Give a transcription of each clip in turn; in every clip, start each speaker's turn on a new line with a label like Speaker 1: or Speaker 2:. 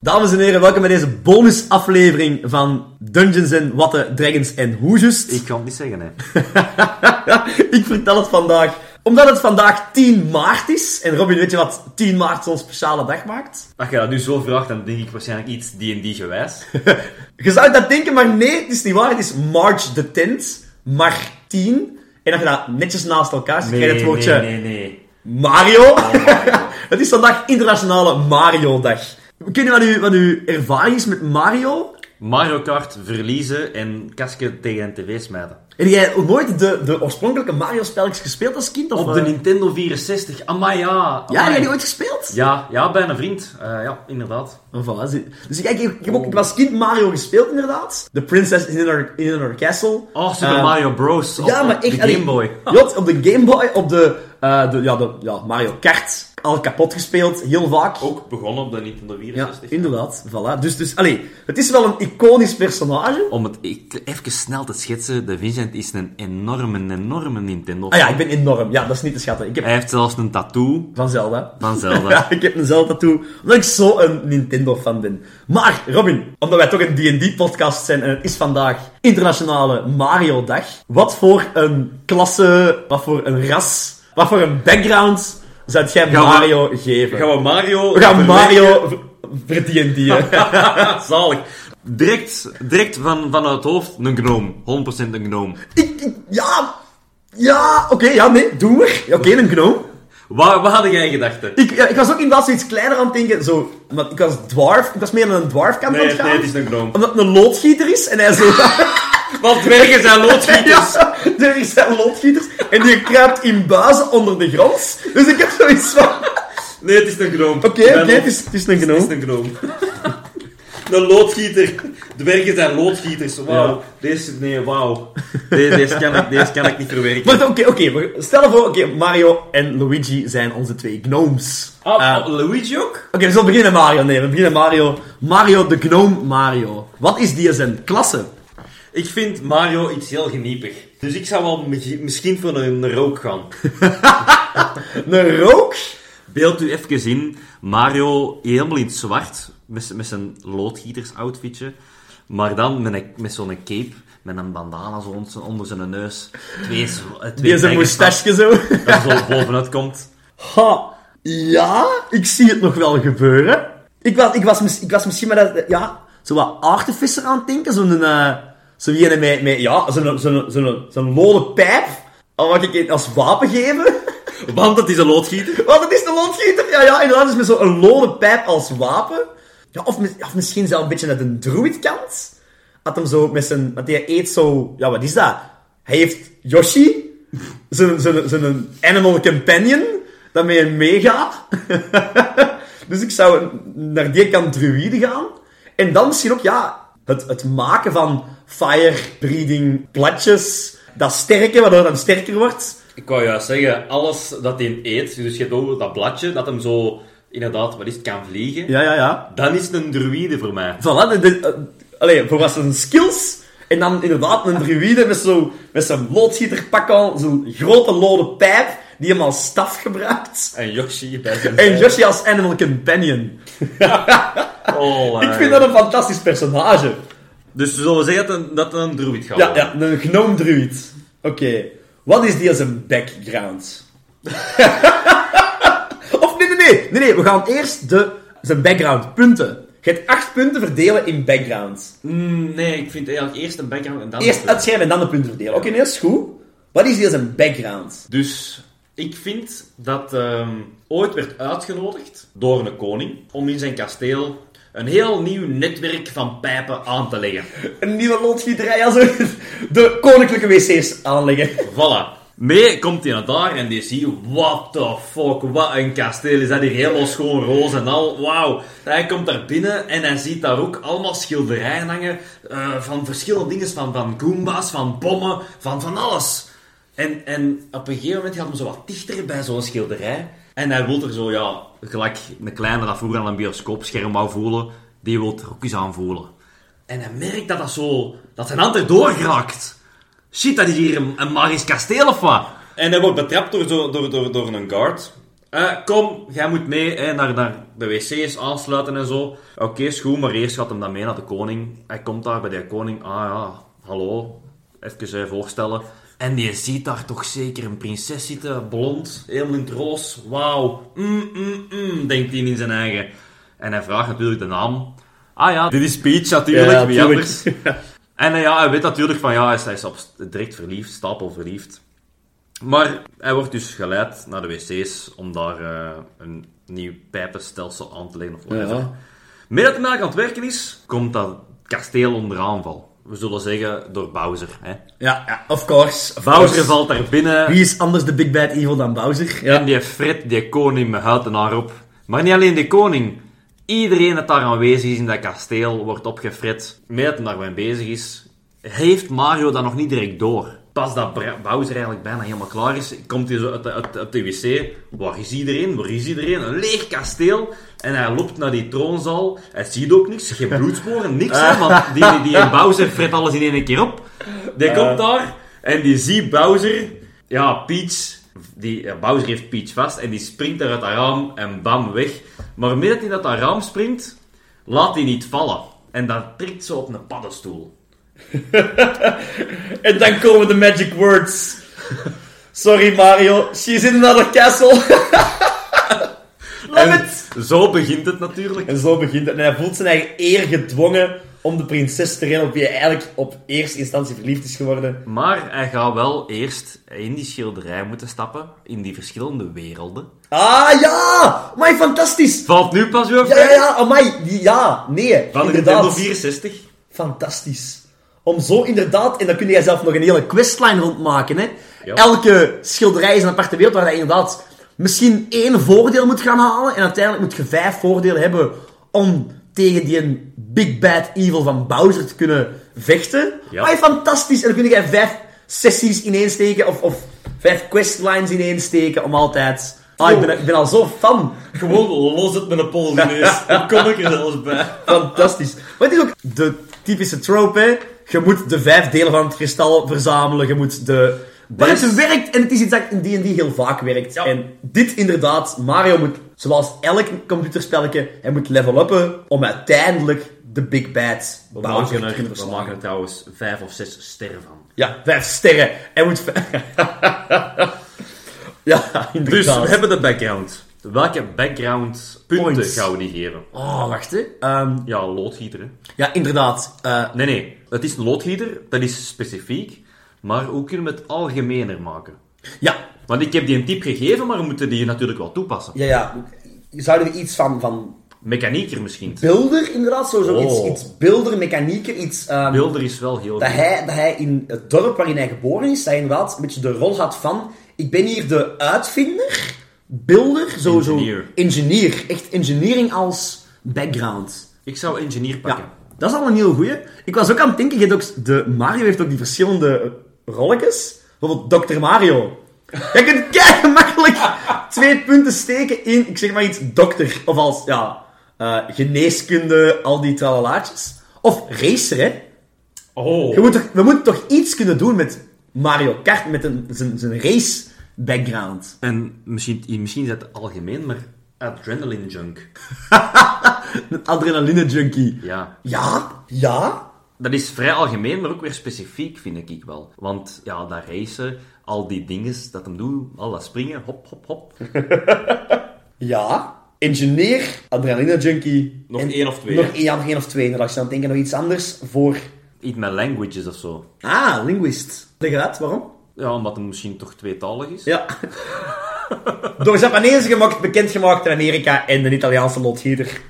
Speaker 1: Dames en heren, welkom bij deze bonusaflevering van Dungeons and Watten, Dragons en Hoesjes.
Speaker 2: Ik kan het niet zeggen, hè.
Speaker 1: Ik vertel het vandaag omdat het vandaag 10 maart is. En Robin, weet je wat 10 maart zo'n speciale dag maakt?
Speaker 2: Als je dat nu zo vraagt, dan denk ik waarschijnlijk iets D&D-gewijs.
Speaker 1: Je zou dat denken, maar nee, het is niet waar. Het is March the 10th, maar 10. En als je dat netjes naast elkaar zet, krijg je het woordje
Speaker 2: nee, Oh, nee.
Speaker 1: Mario. het is vandaag Internationale Mario-dag. Ken je wat, uw, wat uw ervaring is met Mario?
Speaker 2: Mario Kart verliezen en kasken tegen een tv smijten.
Speaker 1: Heb jij nooit de, de oorspronkelijke Mario-spelletjes gespeeld als kind? Of
Speaker 2: Op
Speaker 1: eh,
Speaker 2: de Nintendo 64. Amai, ja.
Speaker 1: Ja,
Speaker 2: Amai.
Speaker 1: heb jij die ooit gespeeld?
Speaker 2: Ja, ja, bij een vriend. Eh, ja, Oh. inderdaad.
Speaker 1: Maar voilà, zie- Dus ik, ik, ik heb ook, ik was kind Mario gespeeld, inderdaad. The Princess in Another, in Another Castle.
Speaker 2: Oh, Super
Speaker 1: Eh,
Speaker 2: Mario Bros. Op
Speaker 1: Ja, maar
Speaker 2: de
Speaker 1: ik...
Speaker 2: Game Boy.
Speaker 1: Jot, op de Game Boy, op de, eh, de, ja, de ja, Mario Kart. Al kapot gespeeld, heel vaak.
Speaker 2: Ook begonnen op de Nintendo
Speaker 1: ja, inderdaad. Voilà. Dus, dus allee, het is wel een iconisch personage.
Speaker 2: Om het ik- even snel te schetsen, de Vincent is een enorme, enorme Nintendo.
Speaker 1: Ah ja, ik ben enorm. Ja, dat is niet te schatten. Ik heb
Speaker 2: Hij heeft zelfs een tattoo
Speaker 1: van Zelda.
Speaker 2: van Zelda.
Speaker 1: Ja, ik heb een Zelda tattoo, omdat ik zo een Nintendo-fan ben. Maar, Robin, omdat wij toch een D&D-podcast zijn en het is vandaag Internationale Mario-dag, wat voor een klasse, wat voor een ras, wat voor een background zou jij
Speaker 2: Gaan we-
Speaker 1: Mario geven?
Speaker 2: we Mario...
Speaker 1: We gaan Mario ver- ver D&D'en.
Speaker 2: Zalig. Direct, direct van, van het hoofd een gnome. 100% een gnome.
Speaker 1: Ik- ik- Ja, ja, oké, ja, nee, doe maar. Ja, Oké, een gnome.
Speaker 2: Waar, waar had jij gedachten?
Speaker 1: Ik, ja, ik was ook inderdaad zoiets kleiner aan het denken, zo, want ik was dwarf, ik was meer aan een dwarfkant aan het gaan.
Speaker 2: een gnome.
Speaker 1: omdat het een loodgieter is en hij zo...
Speaker 2: Want dwergen zijn loodgieters.
Speaker 1: Ja, er zijn loodgieters en die kruipt in buizen onder de grond. Dus ik heb zoiets van... Oké,
Speaker 2: Nee, het is een gnome.
Speaker 1: oké, het, is, het is een genoeg.
Speaker 2: een gnome. Een loodgieter. Dwergen zijn loodgieters. Wauw. Deze, nee, wauw. Deze, deze, kan ik, deze kan ik niet verwerken.
Speaker 1: Maar oké, oké, maar stel voor, oké, Mario en Luigi zijn onze twee gnomes. Eh,
Speaker 2: Ah,
Speaker 1: oké,
Speaker 2: Luigi ook?
Speaker 1: we zullen beginnen met Mario. Nee, we beginnen met Mario. Mario, de gnome Mario. Wat is die zijn klasse?
Speaker 2: Ik vind Mario iets heel geniepig. Dus ik zou wel mi- misschien voor een rook gaan.
Speaker 1: Een rook?
Speaker 2: Beeld u even in, Mario helemaal in het zwart, met, z'n- met zijn loodgietersoutfitje. Maar dan met, een- met zo'n cape, met een bandana zo rond zijn- onder zijn neus. Twee, z- eh, twee
Speaker 1: Die zijn
Speaker 2: drijgen
Speaker 1: moustache zo.
Speaker 2: staan, Dat er zo bovenuit komt.
Speaker 1: Ha, ja, ik zie het nog wel gebeuren. Ik was, ik was, mis- ik was misschien maar dat, ja, zo wat aardevisser aan het denken. Zo'n, eh zo ene met, met, ja, zo'n, zo'n, zo'n, zo'n lode pijp. Al wat ik als wapen geven.
Speaker 2: Want het is een loodgieter.
Speaker 1: Want het is de loodgieter. Ja, ja, inderdaad, dus met zo'n lode pijp als wapen. Ja, of, mis- of misschien zelfs een beetje uit een druidkant. Had hem zo met zijn, want hij eet zo, ja, wat is dat? Hij heeft Yoshi, zijn, zijn, zijn animal companion, dat met hem meegaat. dus ik zou naar die kant druïde gaan. En dan misschien ook, ja, het, het maken van fire-breeding platjes. Dat sterke, waardoor dat sterker wordt.
Speaker 2: Ik wou juist zeggen, alles dat hij eet, dus je hebt ook dat bladje, dat hem zo, inderdaad, wat is het, kan vliegen.
Speaker 1: Ja, ja, ja.
Speaker 2: Dan is het een druïde voor mij.
Speaker 1: Voilà, de, de, eh, allee, voor wat zijn skills. En dan inderdaad een druïde met zo'n met zo'n loodgieterpak al, zo'n grote lode pijp, die hem als staf gebruikt.
Speaker 2: En Yoshi bij zijn...
Speaker 1: En Yoshi als animal companion.
Speaker 2: Oh,
Speaker 1: Ik vind dat een fantastisch personage.
Speaker 2: Dus we zullen zeggen dat een, dat het een druid gaat
Speaker 1: Ja,
Speaker 2: worden.
Speaker 1: ja, een gnome druid. Oké, wat is die als een background? of nee, nee, nee, nee, nee, we gaan eerst de, zijn background punten. Je hebt acht punten verdelen in background.
Speaker 2: Mm, nee, ik vind eigenlijk eerst een background en dan... een
Speaker 1: Eerst
Speaker 2: druid.
Speaker 1: uitschrijven en dan de punten verdelen. Oké, nee, dat is goed. Wat is hier zijn background?
Speaker 2: Dus ik vind dat ehm, ooit werd uitgenodigd door een koning om in zijn kasteel een heel nieuw netwerk van pijpen aan te leggen.
Speaker 1: Een nieuwe loodgieterij als een- de koninklijke wc's aanleggen.
Speaker 2: Voilà. Mee komt hij naar daar en die ziet, what the fuck, wat een kasteel is dat hier, helemaal schoon roze en al, wauw. Hij komt daar binnen en hij ziet daar ook allemaal schilderijen hangen eh, van verschillende dingen, van, van goombas, van bommen, van van alles. En, en op een gegeven moment gaat hem zo wat dichter bij zo'n schilderij en hij wil er zo, ja, gelijk een kleine dat vroeger aan een bioscoopscherm wou voelen, die wil er ook eens aan voelen. En hij merkt dat dat zo, dat zijn hand erdoor geraakt. Shit, dat is hier een, een magisch kasteel of wat? En hij wordt betrapt door, zo- door, door, door een guard. Eh, kom, jij moet mee hè, naar, naar de wc's aansluiten en zo. Oké, is goed, maar eerst gaat hem dan mee naar de koning. Hij komt daar bij de koning. Ah ja, hallo. Even eh, voorstellen. En je ziet daar toch zeker een prinses zitten, blond, helemaal in het roos. Wauw, mm, mm, mm, denkt hij in zijn eigen. En hij vraagt natuurlijk de naam. Ah ja, dit is Peach natuurlijk,
Speaker 1: Ja,
Speaker 2: wie
Speaker 1: tuurlijk.
Speaker 2: anders. En eh, ja, hij weet natuurlijk van ja, hij is, hij is op, direct verliefd, stapel verliefd. Maar hij wordt dus geleid naar de wc's om daar eh, een nieuw pijpenstelsel aan te leggen. Of whatever.
Speaker 1: Ja.
Speaker 2: Midden dat de melk aan het werken is, komt dat kasteel onder aanval. We zullen zeggen door Bowser. Hè.
Speaker 1: Ja, ja, of course. of
Speaker 2: Bowser
Speaker 1: course.
Speaker 2: valt daar binnen
Speaker 1: Wie is anders de Big Bad Evil dan Bowser?
Speaker 2: en die fret die koning met huid en haar op. Maar niet alleen de koning. Iedereen dat daar aanwezig is in dat kasteel wordt opgefret. Met dat hij daarmee bezig is, heeft Mario dat nog niet direct door. Pas dat Bra- Bowser eigenlijk bijna helemaal klaar is, komt hij zo uit de, uit, uit de wc. Waar is iedereen? Waar is iedereen? Een leeg kasteel. En hij loopt naar die troonzaal. Hij ziet ook niks. Geen bloedsporen, niks. hè, want die, die, die Bowser fret alles in één keer op. Die komt daar en die ziet Bowser. Ja, Peach. Die, ja, Bowser heeft Peach vast en die springt daar uit dat raam en bam, weg. Maar midden in dat dat raam springt, laat hij niet vallen. En dat trekt ze op een paddenstoel.
Speaker 1: En dan komen de magic words. Sorry Mario, she's in another castle. Love
Speaker 2: En
Speaker 1: it!
Speaker 2: zo begint het natuurlijk.
Speaker 1: En zo begint het. En hij voelt zijn eigen eer gedwongen om de prinses te redden op wie hij eigenlijk op eerste instantie verliefd is geworden.
Speaker 2: Maar hij gaat wel eerst in die schilderij moeten stappen, in die verschillende werelden.
Speaker 1: Ah ja! Amai, fantastisch!
Speaker 2: Valt nu pas weer
Speaker 1: Ja, ja, ja, amai, die- ja, nee,
Speaker 2: Van Nintendo
Speaker 1: inderdaad.
Speaker 2: 64.
Speaker 1: Fantastisch. Om zo inderdaad, en dan kun jij zelf nog een hele questline rondmaken. Hè?
Speaker 2: Ja.
Speaker 1: Elke schilderij is een aparte wereld waar je inderdaad misschien één voordeel moet gaan halen. En uiteindelijk moet je vijf voordelen hebben om tegen die Big Bad Evil van Bowser te kunnen vechten.
Speaker 2: Ja.
Speaker 1: Maar fantastisch. En dan kun jij vijf sessies ineensteken of, of vijf questlines ineensteken om altijd. Ah, ik, ben, ik ben al zo fan.
Speaker 2: Gewoon los het met een pols ineens. Dan kom ik er zelfs bij.
Speaker 1: Fantastisch. Maar het is ook de typische trope, hè. Je moet de vijf delen van het kristal verzamelen. Je moet de... Maar
Speaker 2: Dus-
Speaker 1: het werkt, en het is iets dat in D&D heel vaak werkt.
Speaker 2: Ja.
Speaker 1: En dit inderdaad, Mario moet, zoals elk computerspelletje, hij moet level uppen om uiteindelijk de Big Bad
Speaker 2: We
Speaker 1: Bowser
Speaker 2: maken,
Speaker 1: te kunnen
Speaker 2: er, we maken
Speaker 1: verslaan.
Speaker 2: er trouwens vijf of zes sterren van.
Speaker 1: Ja, vijf sterren. Hij moet... vij- ja,
Speaker 2: Dus
Speaker 1: inderdaad.
Speaker 2: we hebben de background. Welke background punten
Speaker 1: Points.
Speaker 2: gaan we die geven?
Speaker 1: Oh, wacht, hè. Ehm,
Speaker 2: Ja, loodgieter. hè.
Speaker 1: ja, inderdaad. Eh,
Speaker 2: Nee, nee. Het is een loodgieter. Dat is specifiek. Maar hoe kunnen we het algemener maken?
Speaker 1: ja,
Speaker 2: Want ik heb die een tip gegeven, maar we moeten die natuurlijk wel toepassen.
Speaker 1: ja, ja. Zouden we iets van, van
Speaker 2: Mechanieker misschien.
Speaker 1: beelder, inderdaad. Zo, zo
Speaker 2: Oh.
Speaker 1: iets, iets beelder, mechanieker, iets... ehm,
Speaker 2: Beelder is wel heel
Speaker 1: dat,
Speaker 2: goed.
Speaker 1: hij, dat hij in het dorp waarin hij geboren is, dat hij inderdaad een beetje de rol had van... Ik ben hier de uitvinder, beelder, zo,
Speaker 2: Engineer.
Speaker 1: zo... Engineer. Echt engineering als background.
Speaker 2: Ik zou engineer pakken.
Speaker 1: Ja, dat is al een heel goeie. Ik was ook aan het denken, je hebt ook, de Mario heeft ook die verschillende rolletjes. Bijvoorbeeld Dr. Mario. Je kunt kei makkelijk twee punten steken in, ik zeg maar iets, dokter. Of als, ja, eh, geneeskunde, al die tralalaatjes. Of racer, hè.
Speaker 2: Oh.
Speaker 1: Je moet toch, we moeten toch iets kunnen doen met Mario Kart, met een, zijn, zijn race background.
Speaker 2: En misschien, misschien is dat algemeen, maar adrenaline junk.
Speaker 1: Een adrenaline junkie.
Speaker 2: Ja.
Speaker 1: Ja, ja.
Speaker 2: Dat is vrij algemeen, maar ook weer specifiek, vind ik wel. Want ja, dat racen, al die dingen dat hem doet, al dat springen, hop, hop, hop.
Speaker 1: Ja. Engineer, adrenaline junkie.
Speaker 2: Nog één of twee,
Speaker 1: Nog
Speaker 2: hè?
Speaker 1: één, ja, nog één of twee. Inderdaad, je dan denken nog iets anders voor...
Speaker 2: Iets met languages of zo.
Speaker 1: Ah, linguist. Leg eruit, waarom?
Speaker 2: Ja, omdat hem misschien toch tweetalig is.
Speaker 1: Ja. Door Japanezen gemaakt, bekendgemaakt in Amerika en de Italiaanse lotgieter.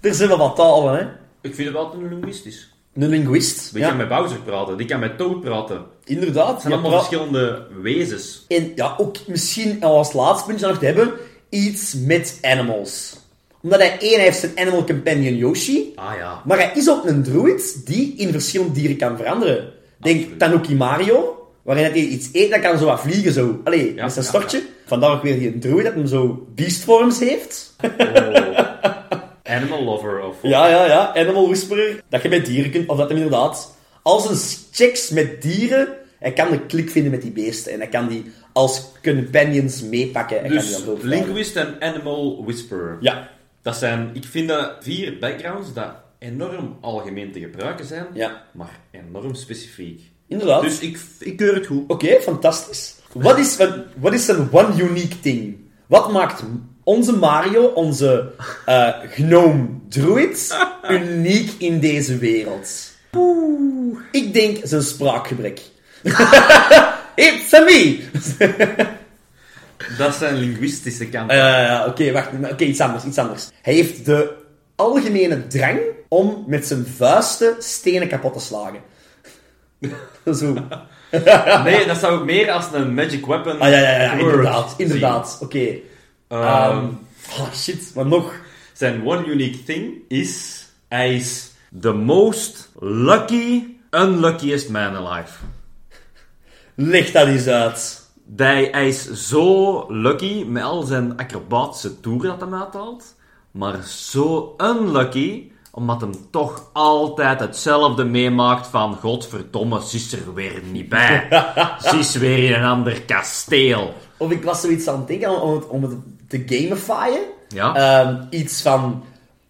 Speaker 1: Er zijn wel wat talen, hè.
Speaker 2: Ik vind het wel een linguistisch.
Speaker 1: Een linguist.
Speaker 2: Die kan met Bowser praten, die kan met Toad praten. Het
Speaker 1: inderdaad.
Speaker 2: zijn
Speaker 1: Ja,
Speaker 2: allemaal
Speaker 1: pra-
Speaker 2: verschillende wezens.
Speaker 1: En ja, ook misschien als laatste puntje dan nog te hebben, iets met animals. Omdat hij één hij heeft zijn animal companion Yoshi,
Speaker 2: Ah ja.
Speaker 1: maar hij is ook een druid die in verschillende dieren kan veranderen. Denk
Speaker 2: Absoluut.
Speaker 1: Tanuki Mario, waarin hij iets eet, dat kan zo wat vliegen zo. Allee,
Speaker 2: Ja,
Speaker 1: met zijn
Speaker 2: ja,
Speaker 1: stortje. Vandaar ook weer die druid dat hem zo beastforms heeft.
Speaker 2: Oh. Animal lover of...
Speaker 1: Ja, ja, ja, animal whisperer. Dat je met dieren kunt, of dat hem inderdaad als een checks met dieren, hij kan de klik vinden met die beesten. En hij kan die als companions meepakken. En gaan die
Speaker 2: Dus
Speaker 1: dan doodvragen.
Speaker 2: Linguist en Animal Whisperer.
Speaker 1: Ja.
Speaker 2: Dat zijn, ik vind dat vier backgrounds dat enorm algemeen te gebruiken zijn,
Speaker 1: Ja.
Speaker 2: maar enorm specifiek.
Speaker 1: Inderdaad.
Speaker 2: Dus ik, ik keur het goed.
Speaker 1: Oké, fantastisch. Wat is, wat, wat is een one unique thing? Wat maakt onze Mario, onze eh gnome druid, uniek in deze wereld? Oeh. Ik denk zijn spraakgebrek. It's a me!
Speaker 2: Dat zijn linguïstische kanten.
Speaker 1: Eh, oké, wacht. maar Oké, iets anders, iets anders. Hij heeft de algemene drang om met zijn vuisten stenen kapot te slagen. Zo.
Speaker 2: Nee, dat zou ik meer als een magic weapon.
Speaker 1: Ah, ja, ja, ja,
Speaker 2: word
Speaker 1: inderdaad,
Speaker 2: zien.
Speaker 1: inderdaad. Oké.
Speaker 2: Ehm,
Speaker 1: Ehm, ah, shit, maar nog.
Speaker 2: zijn one unique thing is, hij is the most lucky, unluckiest man alive.
Speaker 1: Leg dat eens uit.
Speaker 2: Die, hij is zo lucky met al zijn acrobatische toeren dat hij uithaalt, maar zo unlucky omdat hem toch altijd hetzelfde meemaakt van godverdomme, ze is er weer niet bij. ze is weer in een ander kasteel.
Speaker 1: Of ik was zoiets aan het denken om het, om het te gamifyen.
Speaker 2: Ja.
Speaker 1: Ehm, iets van...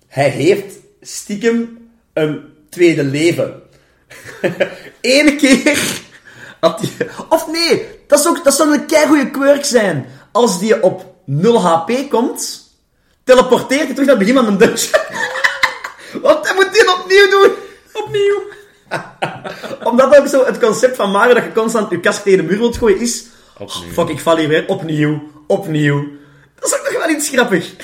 Speaker 1: Hij heeft stiekem een tweede leven. Eén keer had hij... Of nee, dat, is ook, dat zou een keigoede quirk zijn. Als die op 0 HP komt, teleporteert hij terug naar het begin van een dungeon. Want hij moet dit opnieuw doen. Opnieuw. Omdat ook zo het concept van Mario dat je constant je kast tegen de muur wilt gooien is...
Speaker 2: Opnieuw.
Speaker 1: "Oh, fuck, ik val hier weer. Opnieuw. Opnieuw. Dat is ook nog wel iets grappig.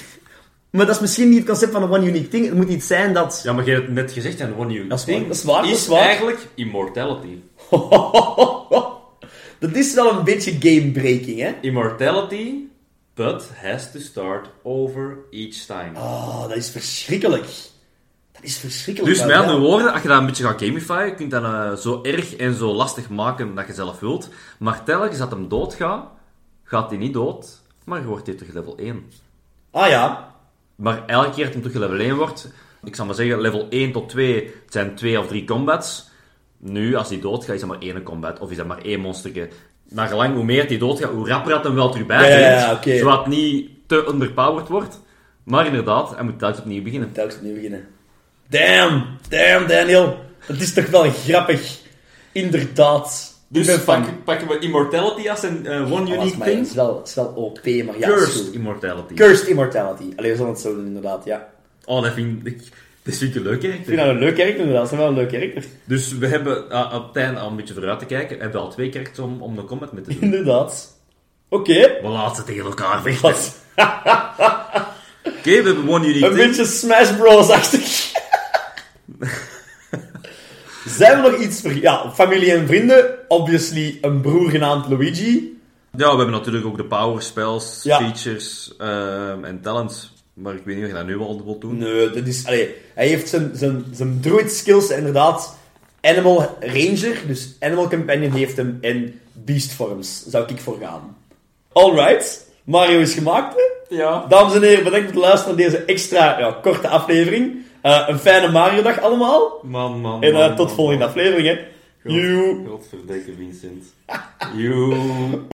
Speaker 1: Maar dat is misschien niet het concept van een one unique thing. Het moet iets zijn dat...
Speaker 2: Ja, maar je hebt het net gezegd, en one unique
Speaker 1: Dat is waar,
Speaker 2: thing
Speaker 1: dat is waar, dat is waar.
Speaker 2: eigenlijk immortality.
Speaker 1: dat is wel een beetje gamebreaking, hè?
Speaker 2: Immortality, but has to start over each time.
Speaker 1: Oh, dat is verschrikkelijk. Dat is verschrikkelijk.
Speaker 2: Dus met
Speaker 1: maar
Speaker 2: andere
Speaker 1: wel.
Speaker 2: woorden, als je dat een beetje gaat gamifyen, je kunt dat eh, zo erg en zo lastig maken dat je zelf wilt. Maar telkens dat hem doodgaat, gaat hij niet dood, maar je wordt hij terug level 1.
Speaker 1: Ah ja.
Speaker 2: Maar elke keer dat hij terug level 1 wordt, ik zal maar zeggen, level 1 tot 2 het zijn 2 of 3 combats. Nu, als hij doodgaat, is dat maar één combat, of is dat maar één monsterke. Naar gelang hoe meer hij doodgaat, hoe rapper dat hem wel terug bij
Speaker 1: Ja, ja, ja,
Speaker 2: komt,
Speaker 1: oké.
Speaker 2: zodat het niet te underpowered wordt. Maar inderdaad, hij moet telkens opnieuw beginnen.
Speaker 1: Telkens opnieuw beginnen. Damn. Damn, Daniel. Dat is toch wel grappig. Inderdaad.
Speaker 2: Dus
Speaker 1: ik ben fan.
Speaker 2: pakken, pakken we Immortality als een eh, one
Speaker 1: Oh, dat is
Speaker 2: unique
Speaker 1: maar-
Speaker 2: thing.
Speaker 1: Het is wel, het is wel OP, maar ja.
Speaker 2: Cursed
Speaker 1: is goed.
Speaker 2: Immortality.
Speaker 1: Cursed Immortality. Allee, we zullen het zo doen, inderdaad, ja.
Speaker 2: oh, dat vind ik... Dat vind ik een leuk
Speaker 1: Ik
Speaker 2: karakter.
Speaker 1: vind dat een leuk karakter, inderdaad. Dat is wel een leuk karakter.
Speaker 2: Dus we hebben ah, op het einde al een beetje vooruit te kijken. Hebben we al twee karakters om, om de combat mee te doen.
Speaker 1: Inderdaad. Oké.
Speaker 2: we laten ze tegen elkaar vechten. Oké,
Speaker 1: Wat?
Speaker 2: we hebben one unique
Speaker 1: Een
Speaker 2: thing.
Speaker 1: beetje Smash Bros-achtig. Zijn we nog iets... ver- Ja, familie en vrienden. Obviously een broer genaamd Luigi.
Speaker 2: Ja, we hebben natuurlijk ook de power spells,
Speaker 1: Ja.
Speaker 2: features ehm, en talents. Maar ik weet niet of je dat nu al wilt doen.
Speaker 1: Nee, dat is... Allee, hij heeft zijn, zijn, zijn druid skills en inderdaad. Animal Ranger, dus Animal Companion heeft hem. En Beast Forms zou ik voor gaan. Alright. Mario is gemaakt, hè?
Speaker 2: Ja.
Speaker 1: Dames en heren, bedankt voor het luisteren naar deze extra ja, korte aflevering. Eh, een fijne Mario-dag allemaal.
Speaker 2: Man, man,
Speaker 1: En eh,
Speaker 2: man, man,
Speaker 1: tot volgende
Speaker 2: man.
Speaker 1: aflevering, hè. Joe.
Speaker 2: Godverdikke Vincent. Joe.